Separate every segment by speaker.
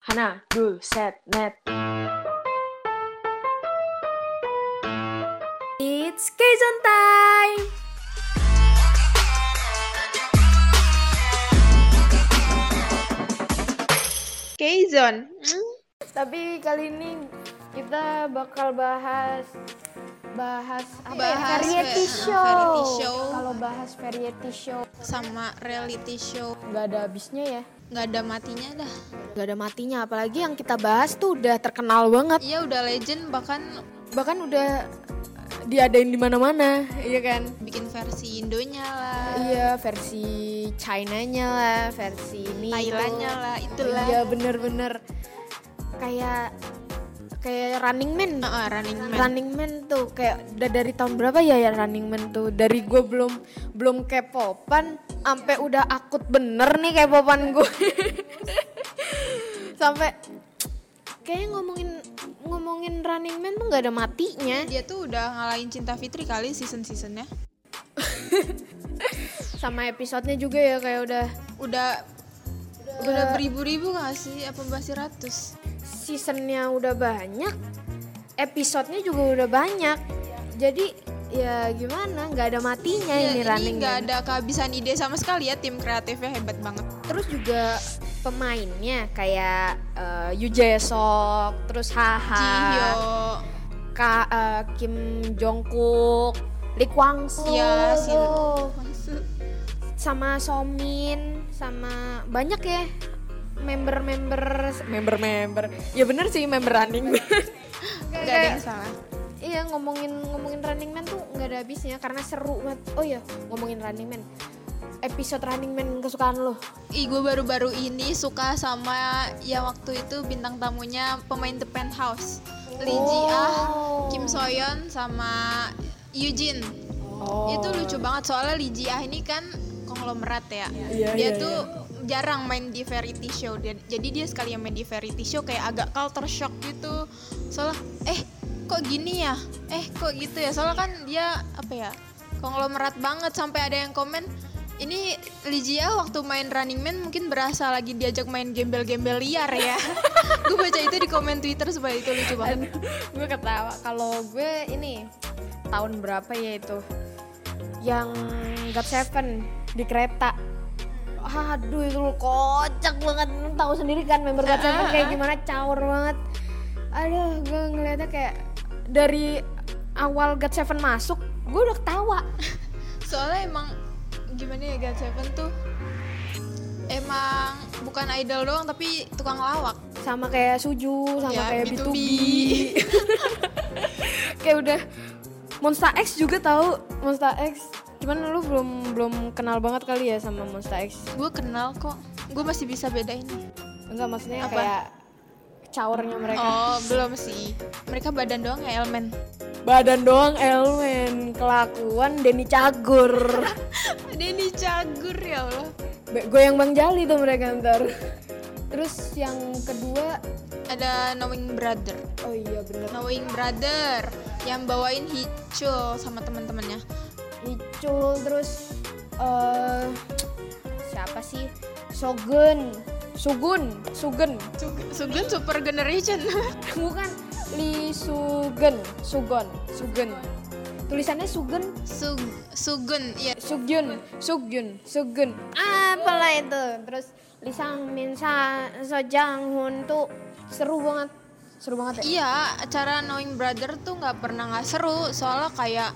Speaker 1: Hana, dul, set, net.
Speaker 2: It's Kaizon time!
Speaker 3: K-Zone.
Speaker 2: Tapi kali ini kita bakal bahas bahas apa ya?
Speaker 3: Bahas
Speaker 2: variety
Speaker 3: va-
Speaker 2: show.
Speaker 3: variety show.
Speaker 2: Kalau bahas variety show
Speaker 3: Sama reality show.
Speaker 2: nggak ada habisnya ya.
Speaker 3: Nggak ada matinya dah.
Speaker 2: Nggak ada matinya. Apalagi yang kita bahas tuh udah terkenal banget.
Speaker 3: Iya udah legend bahkan
Speaker 2: Bahkan udah diadain di mana-mana, iya kan?
Speaker 3: bikin versi Indonya lah.
Speaker 2: Iya, versi Chinanya lah, versi ini.
Speaker 3: Thailandnya
Speaker 2: tuh.
Speaker 3: lah, itulah.
Speaker 2: Iya, bener-bener kayak kayak Running Man.
Speaker 3: Heeh, Nah, ah, running man.
Speaker 2: Running Man tuh kayak udah dari tahun berapa ya ya Running Man tuh dari gue belum belum kepopan sampai udah akut bener nih kepopan gue sampai kayaknya ngomongin ngomongin Running Man tuh nggak ada matinya
Speaker 3: Dia tuh udah ngalahin Cinta Fitri kali season-seasonnya.
Speaker 2: sama episodenya juga ya kayak udah
Speaker 3: Udah udah,
Speaker 2: Eh.
Speaker 3: beribu-ribu nggak sih apa masih ratus
Speaker 2: seasonnya udah banyak episodenya juga udah banyak jadi ya gimana nggak ada matinya
Speaker 3: Ya,
Speaker 2: Eh, ini Running
Speaker 3: nggak
Speaker 2: Man
Speaker 3: ada kehabisan ide sama sekali ya tim kreatifnya hebat banget
Speaker 2: terus juga pemainnya kayak eh, Yu Jae-suk, terus Haha,
Speaker 3: Jiyo
Speaker 2: Ka, eh, Kim Jongkook, Lee Kwang Soo,
Speaker 3: ya si
Speaker 2: Oh.
Speaker 3: Maksud-
Speaker 2: sama Somin, sama banyak ya member-member member-member. Ya bener sih member Running Man.
Speaker 3: nggak ada yang salah
Speaker 2: Iya ngomongin ngomongin Running Man tuh nggak ada habisnya karena seru banget. Oh iya ngomongin Running Man, episode Running Man kesukaan lo?
Speaker 3: Ih, gue baru-baru ini suka sama yang waktu itu bintang tamunya pemain The Penthouse. Lee Ji Ah, Kim Soyeon sama Yujin.
Speaker 2: Oh.
Speaker 3: Itu lucu banget soalnya Lee Ji Ah ini kan konglomerat ya. dia tuh jarang main di variety show. Dia- jadi dia sekali yang main di variety show kayak agak culture shock gitu. Soalnya eh kok gini ya? Eh kok gitu ya? Soalnya kan dia apa ya? Konglomerat banget sampai ada yang komen ini Lijia waktu main Running Man mungkin berasa lagi diajak main gembel-gembel liar ya. gue baca itu di komen Twitter supaya itu lucu banget.
Speaker 2: gue ketawa kalau gue ini tahun berapa ya itu yang God Seven di kereta aduh itu lu kocak banget Lu tahu sendiri kan member God Seven kayak gimana caur banget aduh gue ngeliatnya kayak dari awal God Seven masuk gue udah ketawa
Speaker 3: Soalnya emang gimana ya God Seven tuh emang bukan idol doang tapi tukang lawak.
Speaker 2: sama kayak Suju sama
Speaker 3: Ya,
Speaker 2: kayak
Speaker 3: B2B.
Speaker 2: B2B, kayak udah Monster X juga tahu Monster X cuman lu belum belum kenal banget kali ya sama Monster X
Speaker 3: Gue kenal kok. Gue masih bisa bedain.
Speaker 2: Enggak maksudnya
Speaker 3: Apa?
Speaker 2: kayak caurnya mereka.
Speaker 3: Oh belum sih. Mereka badan doang ya Elmen.
Speaker 2: Badan doang Elmen, kelakuan Denny Cagur.
Speaker 3: Denny Cagur ya Allah.
Speaker 2: Be- Goyang Bang Jali tuh mereka ntar. Terus yang kedua,
Speaker 3: Ada Knowing Brother.
Speaker 2: oh iya bener.
Speaker 3: Knowing Brother yang bawain Hicul sama teman-temannya.
Speaker 2: Icul terus eh siapa sih? Sogun, Sugun, Sugun.
Speaker 3: Sugun Super Generation.
Speaker 2: Bukan Li Sugen, Sugon, Sugen. Tulisannya Sugen,
Speaker 3: Su Sugun, ya.
Speaker 2: Sugyun, Sugyun, Sugyun. Apalah itu. Terus Lisang Minsa Sojang Hun tuh seru banget. Seru banget ya.
Speaker 3: Iya, acara Knowing Brother tuh nggak pernah nggak seru. Soalnya kayak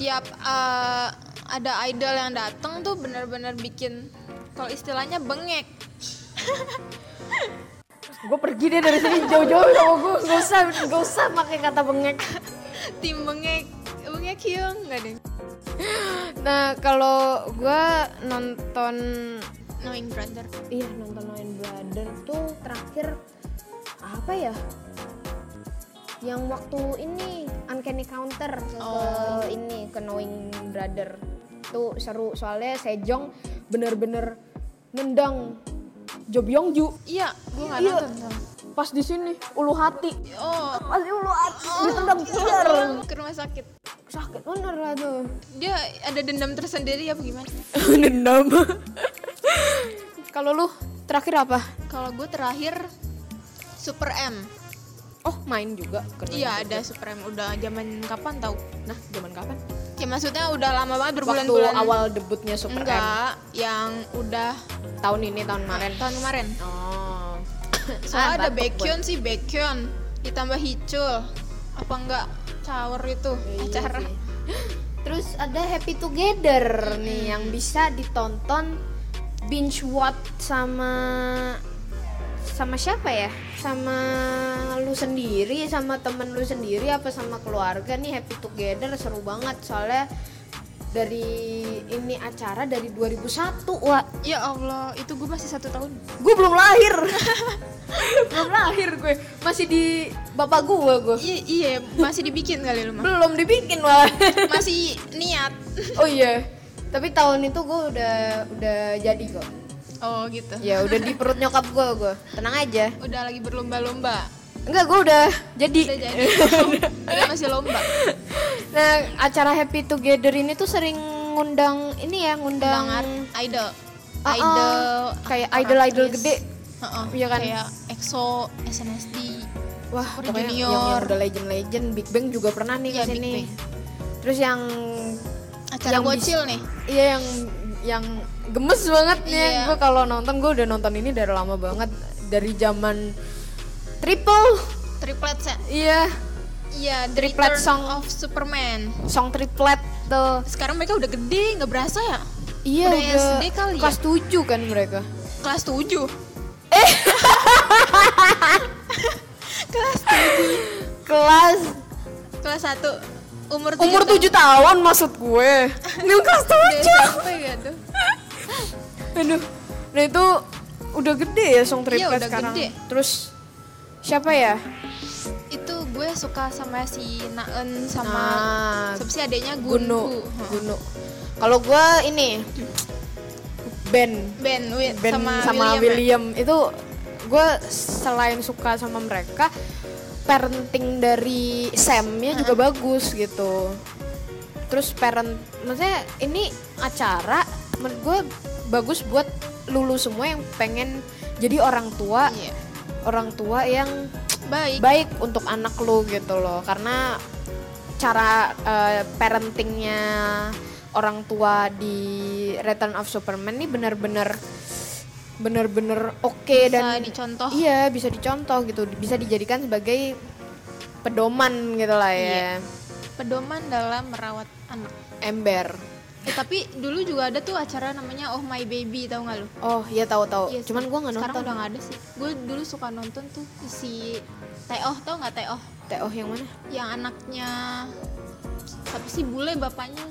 Speaker 3: tiap eh, ada idol yang datang tuh bener-bener bikin kalau istilahnya bengek.
Speaker 2: Gue pergi deh dari sini jauh-jauh sama gue. Gak usah, gak usah pakai kata bengek.
Speaker 3: Tim bengek, bengek hyung nggak deh.
Speaker 2: Nah, kalau gue nonton
Speaker 3: Knowing Brother.
Speaker 2: iya nonton Lion Brother tuh terakhir apa ya? Yang waktu ini Uncanny Counter ke ini ke Knowing Brother tuh seru soalnya Sejong bener-bener nendang Jo Byung-ju
Speaker 3: Iya, gue nggak
Speaker 2: Iya.
Speaker 3: nonton. Sam.
Speaker 2: pas di sini ulu hati
Speaker 3: Oh,
Speaker 2: pas di ulu hati ditendang keluar
Speaker 3: ke rumah sakit.
Speaker 2: sakit bener lah tuh
Speaker 3: Dia ada dendam tersendiri apa gimana?
Speaker 2: dendam kalau lu terakhir apa
Speaker 3: Kalau gue terakhir Super M.
Speaker 2: Oh main juga keren
Speaker 3: Iya
Speaker 2: juga.
Speaker 3: ada Super M udah zaman kapan tahu?
Speaker 2: Nah zaman kapan?
Speaker 3: Ya maksudnya udah lama banget
Speaker 2: Waktu
Speaker 3: berbulan-bulan.
Speaker 2: awal debutnya Super M
Speaker 3: enggak yang udah
Speaker 2: tahun ini tahun kemarin.
Speaker 3: tahun kemarin.
Speaker 2: Oh.
Speaker 3: Soalnya ada
Speaker 2: batuk
Speaker 3: Baekhyun sih Baekhyun ditambah Hicul. Apa enggak cawer itu
Speaker 2: Iya,
Speaker 3: acara?
Speaker 2: Terus ada Happy Together nih yang bisa ditonton binge watch sama sama siapa ya? Sama lu sendiri, sama temen lu sendiri apa sama keluarga nih Happy Together seru banget soalnya dari ini acara dari 2001 wah
Speaker 3: Ya Allah, itu gue masih satu tahun.
Speaker 2: gue belum lahir belum lahir gue masih di bapak gue gue
Speaker 3: I- iya, masih dibikin kali lu mah.
Speaker 2: belum dibikin malah
Speaker 3: Masih niat.
Speaker 2: oh iya tapi tahun itu gue udah udah jadi kok
Speaker 3: Oh gitu.
Speaker 2: ya udah di perut nyokap gue gue tenang aja
Speaker 3: Udah lagi berlomba-lomba.
Speaker 2: enggak gue udah jadi
Speaker 3: Udah jadi. Udah masih lomba.
Speaker 2: nah acara happy together ini tuh sering ngundang ini ya ngundang
Speaker 3: Banget idol.
Speaker 2: Ah, ah.
Speaker 3: Idol
Speaker 2: kayak
Speaker 3: aktor,
Speaker 2: idol idol
Speaker 3: aktris.
Speaker 2: gede
Speaker 3: Heeh,
Speaker 2: Iya kan?
Speaker 3: Kayak EXO, SNSD.
Speaker 2: wah
Speaker 3: Super
Speaker 2: pokoknya yang,
Speaker 3: Junior.
Speaker 2: yang udah legend legend big bang juga pernah nih
Speaker 3: Iya, Big
Speaker 2: kesini
Speaker 3: Bang.
Speaker 2: terus yang
Speaker 3: Acara
Speaker 2: Yang
Speaker 3: bocil nih.
Speaker 2: iya yang yang gemes banget nih
Speaker 3: Iya.
Speaker 2: gue kalau nonton gue udah nonton ini dari lama banget dari zaman triple
Speaker 3: Triplet set.
Speaker 2: iya
Speaker 3: Iya, The
Speaker 2: Triplet
Speaker 3: Return
Speaker 2: song.
Speaker 3: of Superman.
Speaker 2: song triplet tuh
Speaker 3: Sekarang mereka udah gede, nggak berasa ya?
Speaker 2: Iya
Speaker 3: Udah
Speaker 2: udah,
Speaker 3: SD kali ya?
Speaker 2: kelas 7 kan mereka.
Speaker 3: Kelas 7.
Speaker 2: Kelas
Speaker 3: Kelas 1. Umur 7
Speaker 2: umur 7 tahun maksud gue. Ini kelas
Speaker 3: Iya, SMP gitu. iya.
Speaker 2: 7. Aduh. Nah itu udah gede ya song triplet
Speaker 3: udah
Speaker 2: sekarang.
Speaker 3: gede.
Speaker 2: Terus siapa ya?
Speaker 3: Itu gue suka sama si Naen sama
Speaker 2: Nah,
Speaker 3: siapa sih adeknya
Speaker 2: Guno.
Speaker 3: Gunku. Heeh.
Speaker 2: Guno. Kalau gue ini band
Speaker 3: Ben, Wi-
Speaker 2: Ben
Speaker 3: sama,
Speaker 2: sama,
Speaker 3: William.
Speaker 2: William,
Speaker 3: ya?
Speaker 2: itu gue selain suka sama mereka parenting dari Samnya juga bagus gitu terus parent maksudnya ini acara menurut gue bagus buat lulu semua yang pengen jadi orang tua
Speaker 3: Iya.
Speaker 2: orang tua yang
Speaker 3: Baik.
Speaker 2: baik untuk anak lu gitu loh karena cara eh, parentingnya orang tua di Return of Superman ini benar-benar benar-benar oke
Speaker 3: Bisa
Speaker 2: dan
Speaker 3: dicontoh.
Speaker 2: iya bisa dicontoh gitu bisa dijadikan sebagai pedoman gitu lah ya
Speaker 3: Iya. Pedoman dalam merawat anak.
Speaker 2: ember
Speaker 3: Eh, tapi dulu juga ada tuh acara namanya Oh My Baby, tau gak lu?
Speaker 2: oh iya tahu-tahu
Speaker 3: Iya sih.
Speaker 2: cuman gua nggak
Speaker 3: Sekarang
Speaker 2: nonton
Speaker 3: udah gak ada sih. Gue dulu suka nonton tuh si Teoh, tau Oh? gak Teoh?
Speaker 2: Teo oh, yang mana
Speaker 3: Yang anaknya apa sih bule bapaknya?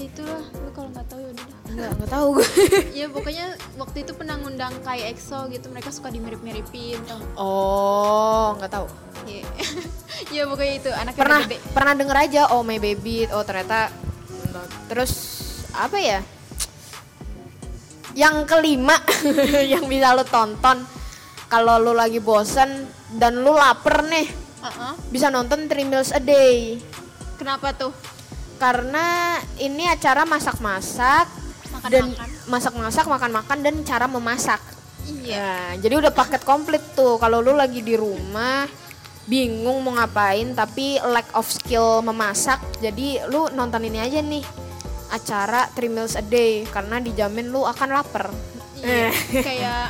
Speaker 3: Ya itulah, lu kalau nggak tahu ya udah. dah.
Speaker 2: nggak nggak tahu gue
Speaker 3: ya pokoknya waktu itu pernah ngundang kayak EXO gitu, mereka suka dimirip-miripin. tau.
Speaker 2: oh nggak tahu
Speaker 3: Iya. ya pokoknya itu anaknya
Speaker 2: pernah
Speaker 3: udah gede.
Speaker 2: pernah denger aja oh my baby oh ternyata terus apa ya yang kelima yang bisa lo tonton kalau lo lagi bosen dan lo lapar nih
Speaker 3: Uh-uh.
Speaker 2: bisa nonton three meals a day
Speaker 3: Kenapa tuh?
Speaker 2: karena ini acara masak-masak
Speaker 3: Makan-makan.
Speaker 2: dan masak-masak makan-makan dan cara memasak ya
Speaker 3: Iya.
Speaker 2: jadi udah paket komplit tuh kalau lu lagi di rumah bingung mau ngapain tapi lack of skill memasak jadi lu nonton ini aja nih acara three meals a day karena dijamin lu akan lapar Eh.
Speaker 3: Iya. kayak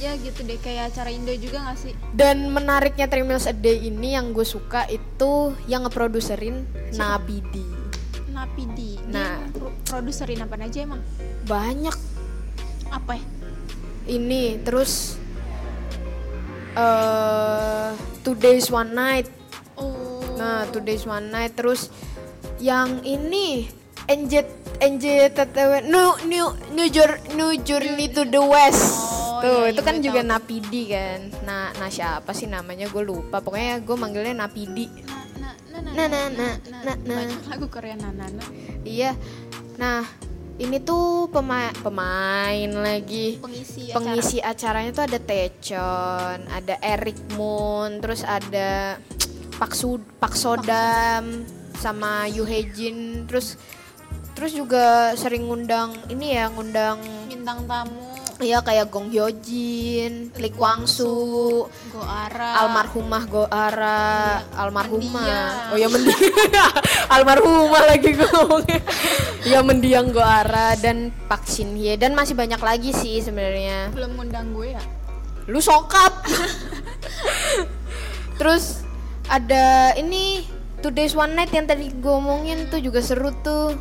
Speaker 3: ya gitu deh kayak acara Indo juga gak sih?
Speaker 2: dan menariknya three meals a day ini yang gue suka itu yang ngeproduserin Nabidi
Speaker 3: Napidi.
Speaker 2: Nah.
Speaker 3: Nah, produserin apa aja emang?
Speaker 2: banyak
Speaker 3: Apa ya?
Speaker 2: ini terus eh two days one night
Speaker 3: Oh.
Speaker 2: Nah, Two Days One Night terus yang ini NJ NJTTW New New New, Jour- New Journey to the West.
Speaker 3: Oh,
Speaker 2: Tuh,
Speaker 3: iya,
Speaker 2: itu
Speaker 3: iya,
Speaker 2: kan
Speaker 3: gue
Speaker 2: juga
Speaker 3: tahu.
Speaker 2: Napidi kan. Nah, nah siapa sih namanya gue lupa. Pokoknya gue manggilnya Napidi.
Speaker 3: na na na
Speaker 2: Na,
Speaker 3: na
Speaker 2: na, na, na, na.
Speaker 3: Banyak lagu Korea na na na.
Speaker 2: Iya. Nah, ini tuh pemain pemain lagi.
Speaker 3: Pengisi,
Speaker 2: Pengisi acaranya tuh ada Taechan, ada Eric Moon, terus ada Pak Su- Pak Sodam sama Yoo Hae Jin, terus terus juga sering ngundang ini ya ngundang
Speaker 3: acara bintang tamu
Speaker 2: Iya kayak Gong Hyojin, Lee Kwang Soo,
Speaker 3: Goara.
Speaker 2: almarhumah Goara, almarhumah.
Speaker 3: Mendiang.
Speaker 2: Oh ya mendiang. almarhumah lagi gue ngomongnya. ya mendiang Goara dan Pak Shin Hye dan masih banyak lagi sih sebenarnya.
Speaker 3: Belum ngundang gue ya?
Speaker 2: Lu sokap. Terus ada ini Two Days One Night yang tadi gue omongin tuh juga seru tuh.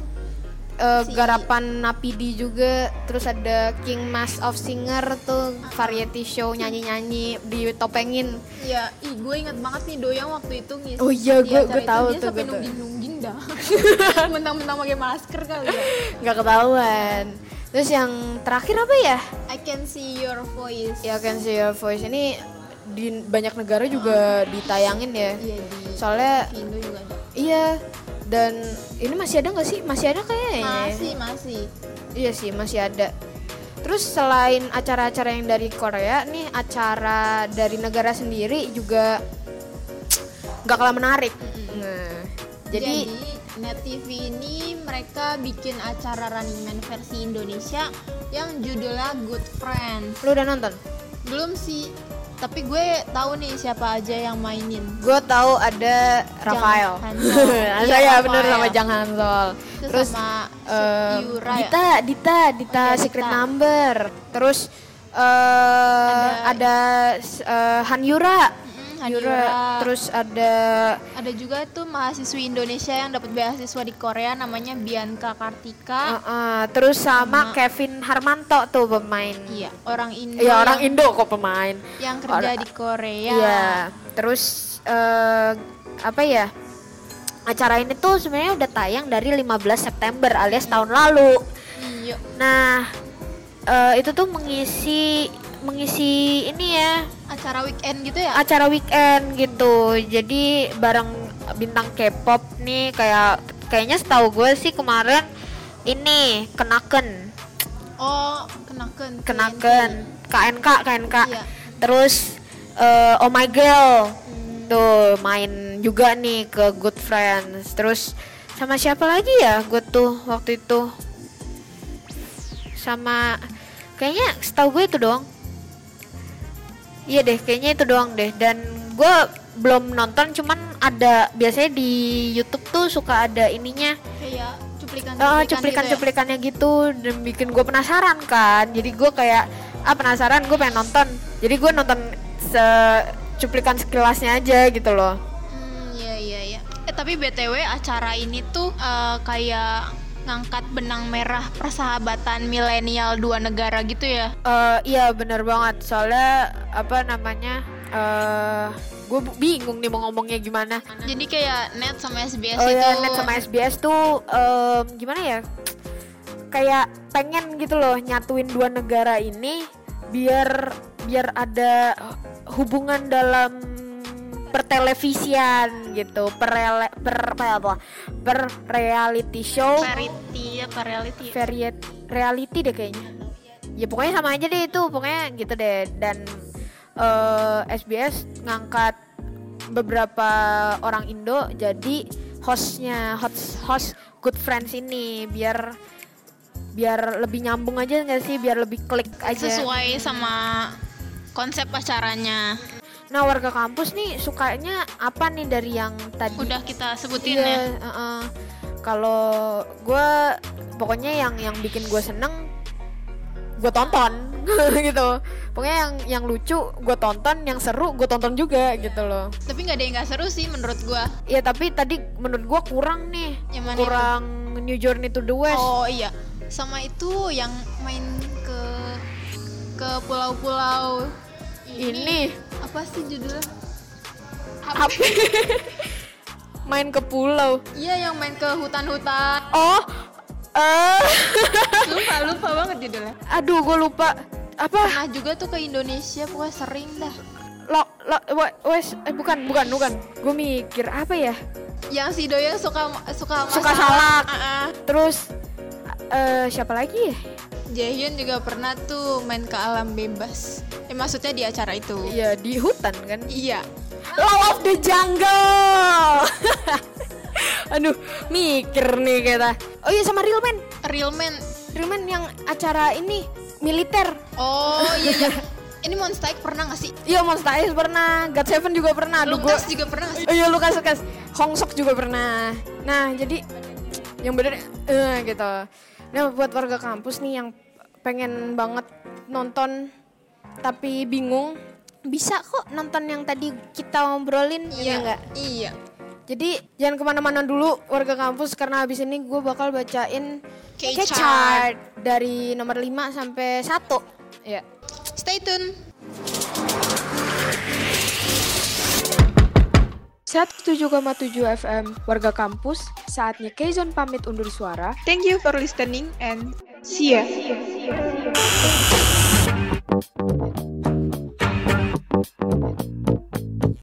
Speaker 2: Eh,
Speaker 3: Si-
Speaker 2: Garapan Napidi juga, terus ada King Mas of Singer tuh variety show nyanyi-nyanyi ditopengin.
Speaker 3: Iya, ih gue inget banget nih Doyang waktu itu ngisi.
Speaker 2: Oh iya,
Speaker 3: di
Speaker 2: gue-
Speaker 3: acara
Speaker 2: gue
Speaker 3: itu,
Speaker 2: tahu
Speaker 3: dia
Speaker 2: tuh,
Speaker 3: sampai
Speaker 2: gue tahu.
Speaker 3: nungging-nungging dah. Mentang-mentang pakai masker kali ya.
Speaker 2: nggak ketahuan. Terus yang terakhir apa ya?
Speaker 3: I can see your voice.
Speaker 2: Ya Can See Your Voice ini di banyak negara juga ditayangin ya.
Speaker 3: Iya di
Speaker 2: Soalnya
Speaker 3: Indo juga ada.
Speaker 2: iya dan ini masih ada nggak sih? Masih ada kayaknya.
Speaker 3: Masih, masih.
Speaker 2: Iya sih masih ada. Terus selain acara-acara yang dari Korea nih acara dari negara sendiri juga nggak kalah menarik. Nah, jadi,
Speaker 3: Jadi, Net TV ini mereka bikin acara Running Man versi Indonesia yang judulnya Good Friends.
Speaker 2: lu udah nonton?
Speaker 3: Belum sih, tapi gue tahu nih siapa aja yang mainin.
Speaker 2: Gue tahu ada Rafael.
Speaker 3: Hansol. Iya,
Speaker 2: Saya bener
Speaker 3: Rafael.
Speaker 2: sama Jang Hansol.
Speaker 3: Terus,
Speaker 2: Terus
Speaker 3: sama
Speaker 2: eh,
Speaker 3: Yura ya?
Speaker 2: Dita, Dita, Dita
Speaker 3: Oh, iya,
Speaker 2: Secret
Speaker 3: Dita.
Speaker 2: Number. Terus eh
Speaker 3: Ada-
Speaker 2: ada eh, Han Yura.
Speaker 3: Mm, Han Yura.
Speaker 2: Terus ada
Speaker 3: Ada juga tuh mahasiswi Indonesia yang dapat beasiswa di Korea namanya Bianca
Speaker 2: eh,
Speaker 3: Kartika.
Speaker 2: eh, terus sama
Speaker 3: Ah. Sama-
Speaker 2: Kevin Harmanto tuh pemain.
Speaker 3: Iya, orang Indo.
Speaker 2: Ya orang
Speaker 3: yang,
Speaker 2: Indo kok pemain.
Speaker 3: yang kerja
Speaker 2: Orang-
Speaker 3: di Korea.
Speaker 2: Iya. Terus eh, apa ya? Acara ini tuh sebenarnya udah tayang dari 15 September alias tahun lalu.
Speaker 3: Iya.
Speaker 2: Nah, eh, itu tuh mengisi mengisi ini ya
Speaker 3: Acara weekend gitu ya?
Speaker 2: acara weekend gitu. Jadi bareng bintang K-pop nih kayak kayaknya setahu gue sih kemarin ini kenaken
Speaker 3: Oh, kenaken.
Speaker 2: kenaken KNK KNK.
Speaker 3: Iya.
Speaker 2: Terus eh, Oh My Girl
Speaker 3: Hmm,
Speaker 2: tuh main juga nih ke Good Friends. Terus sama siapa lagi ya gue tuh waktu itu sama kayaknya setahu gue itu doang. Iya deh, kayaknya itu doang deh. Dan gue belum nonton, cuman ada biasanya di YouTube tuh suka ada ininya
Speaker 3: Kayak cuplikan
Speaker 2: Oh,
Speaker 3: gitu ya?
Speaker 2: cuplikan-cuplikannya gitu, dan bikin gue penasaran kan. Jadi gue kayak ah penasaran, gue pengen nonton. Jadi gue nonton se cuplikan sekilasnya aja gitu loh.
Speaker 3: Hmm, iya iya iya. Eh tapi BTW acara ini tuh eh, kayak ngangkat benang merah persahabatan milenial dua negara gitu ya.
Speaker 2: Eh, iya bener banget. Soalnya apa namanya? eh gue bingung nih mau ngomongnya gimana.
Speaker 3: Jadi kayak net sama SBS
Speaker 2: Oh
Speaker 3: itu.
Speaker 2: ya, net sama SBS tuh em, gimana ya? Kayak pengen gitu loh nyatuin dua negara ini biar biar ada hubungan dalam pertelevisian gitu, perele, per, per apa? ya, Per reality show,
Speaker 3: Parity, ya, ke reality.
Speaker 2: variet reality deh kayaknya. Ya pokoknya sama aja deh itu, pokoknya gitu deh. Dan eh, SBS ngangkat beberapa orang Indo jadi hostnya host host Good Friends ini biar biar lebih nyambung aja nggak sih biar lebih klik aja
Speaker 3: Sesuai sama konsep acaranya.
Speaker 2: nah warga kampus nih sukanya apa nih dari yang tadi
Speaker 3: Udah kita
Speaker 2: Iya,
Speaker 3: sebutin ya.
Speaker 2: heeh. Kalau gue pokoknya yang yang bikin gue seneng gue tonton gitu. Pokoknya yang yang lucu gue tonton, yang seru gue tonton juga gitu loh.
Speaker 3: Tapi nggak ada yang nggak seru sih menurut gua.
Speaker 2: Ya tapi tadi menurut gue kurang nih,
Speaker 3: Yang mana
Speaker 2: kurang New Journey to the West.
Speaker 3: Oh iya. Sama itu yang main ke ke pulau-pulau
Speaker 2: Ini
Speaker 3: apa sih judulnya?
Speaker 2: apa? main ke pulau.
Speaker 3: Iya yang main ke hutan-hutan.
Speaker 2: Oh, eh,
Speaker 3: Lupa lupa banget judulnya.
Speaker 2: aduh gue lupa apa?
Speaker 3: Pernah juga tuh ke Indonesia pokoknya sering dah.
Speaker 2: Lo, lo, wa- wes, eh bukan, bukan, bukan. Gue mikir apa ya?
Speaker 3: Yang si Doya suka suka sama
Speaker 2: Suka salak.
Speaker 3: Ah, ah.
Speaker 2: Terus eh siapa lagi? ya?
Speaker 3: Jaehyun juga pernah tuh main ke alam bebas. Eh maksudnya di acara itu.
Speaker 2: Iya di hutan kan.
Speaker 3: Iya.
Speaker 2: Law of the Jungle. Aduh, mikir nih kita. Oh iya sama Real Man.
Speaker 3: Real man
Speaker 2: Real Man yang acara ini militer.
Speaker 3: Oh iya iya. Ini Monster X pernah gak sih?
Speaker 2: Iya Monster X pernah, God Seven juga pernah. Aduh, gua-
Speaker 3: Lucas juga pernah gak sih?
Speaker 2: Oh iya Lukas Lukas, Hong Sok juga pernah. Nah jadi yang bener eh, gitu. Nah buat warga kampus nih yang pengen banget nonton tapi bingung bisa kok nonton yang tadi kita obrolin ya enggak?
Speaker 3: Iya.
Speaker 2: Jadi jangan kemana-mana dulu warga kampus karena habis ini gue bakal bacain
Speaker 3: K-chart.
Speaker 2: K-chart dari nomor 5 sampai 1 Ya.
Speaker 3: Iya. Stay tune.
Speaker 1: FM Warga Kampus, saatnya Keizon pamit undur suara.
Speaker 4: Thank you for listening and see ya.